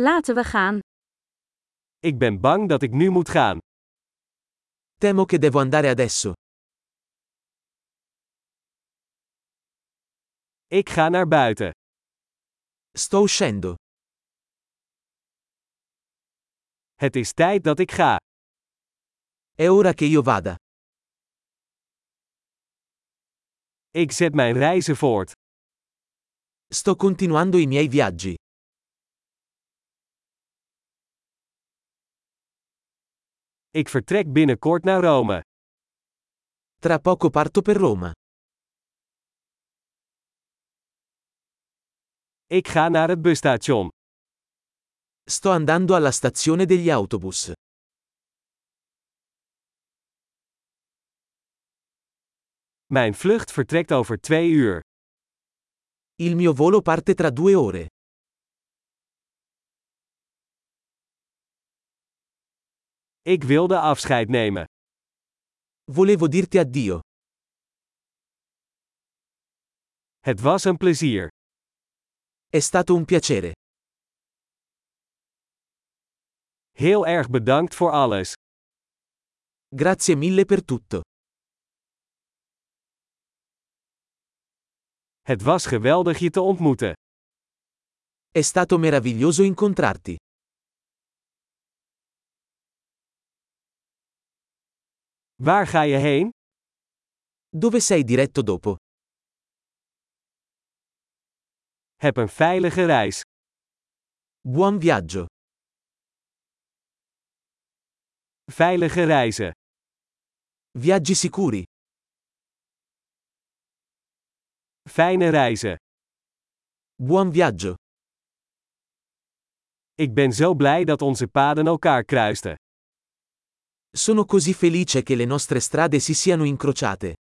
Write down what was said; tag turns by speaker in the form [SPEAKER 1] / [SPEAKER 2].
[SPEAKER 1] Laten we gaan.
[SPEAKER 2] Ik ben bang dat ik nu moet gaan.
[SPEAKER 3] Temo che devo andare adesso.
[SPEAKER 2] Ik ga naar buiten.
[SPEAKER 3] Sto uscendo.
[SPEAKER 2] Het is tijd dat ik ga.
[SPEAKER 3] È ora che io vada.
[SPEAKER 2] Ik zet mijn reizen voort.
[SPEAKER 3] Sto continuando i miei viaggi.
[SPEAKER 2] Ik vertrek binnenkort naar Rome.
[SPEAKER 3] Tra poco parto per Roma.
[SPEAKER 2] Ik ga naar het busstation.
[SPEAKER 3] Sto andando alla stazione degli autobus.
[SPEAKER 2] Mijn vlucht vertrekt over twee uur.
[SPEAKER 3] Il mio volo parte tra due ore.
[SPEAKER 2] Ik wilde afscheid nemen.
[SPEAKER 3] Volevo dirti addio.
[SPEAKER 2] Het was een plezier.
[SPEAKER 3] È stato un piacere.
[SPEAKER 2] Heel erg bedankt voor alles.
[SPEAKER 3] Grazie mille per tutto.
[SPEAKER 2] Het was geweldig je te ontmoeten.
[SPEAKER 3] È stato meraviglioso incontrarti.
[SPEAKER 2] Waar ga je heen?
[SPEAKER 3] Dove sei diretto dopo?
[SPEAKER 2] Heb een veilige reis.
[SPEAKER 3] Buon viaggio.
[SPEAKER 2] Veilige reizen.
[SPEAKER 3] Viaggi sicuri.
[SPEAKER 2] Fijne reizen.
[SPEAKER 3] Buon viaggio.
[SPEAKER 2] Ik ben zo blij dat onze paden elkaar kruisten.
[SPEAKER 3] Sono così felice che le nostre strade si siano incrociate.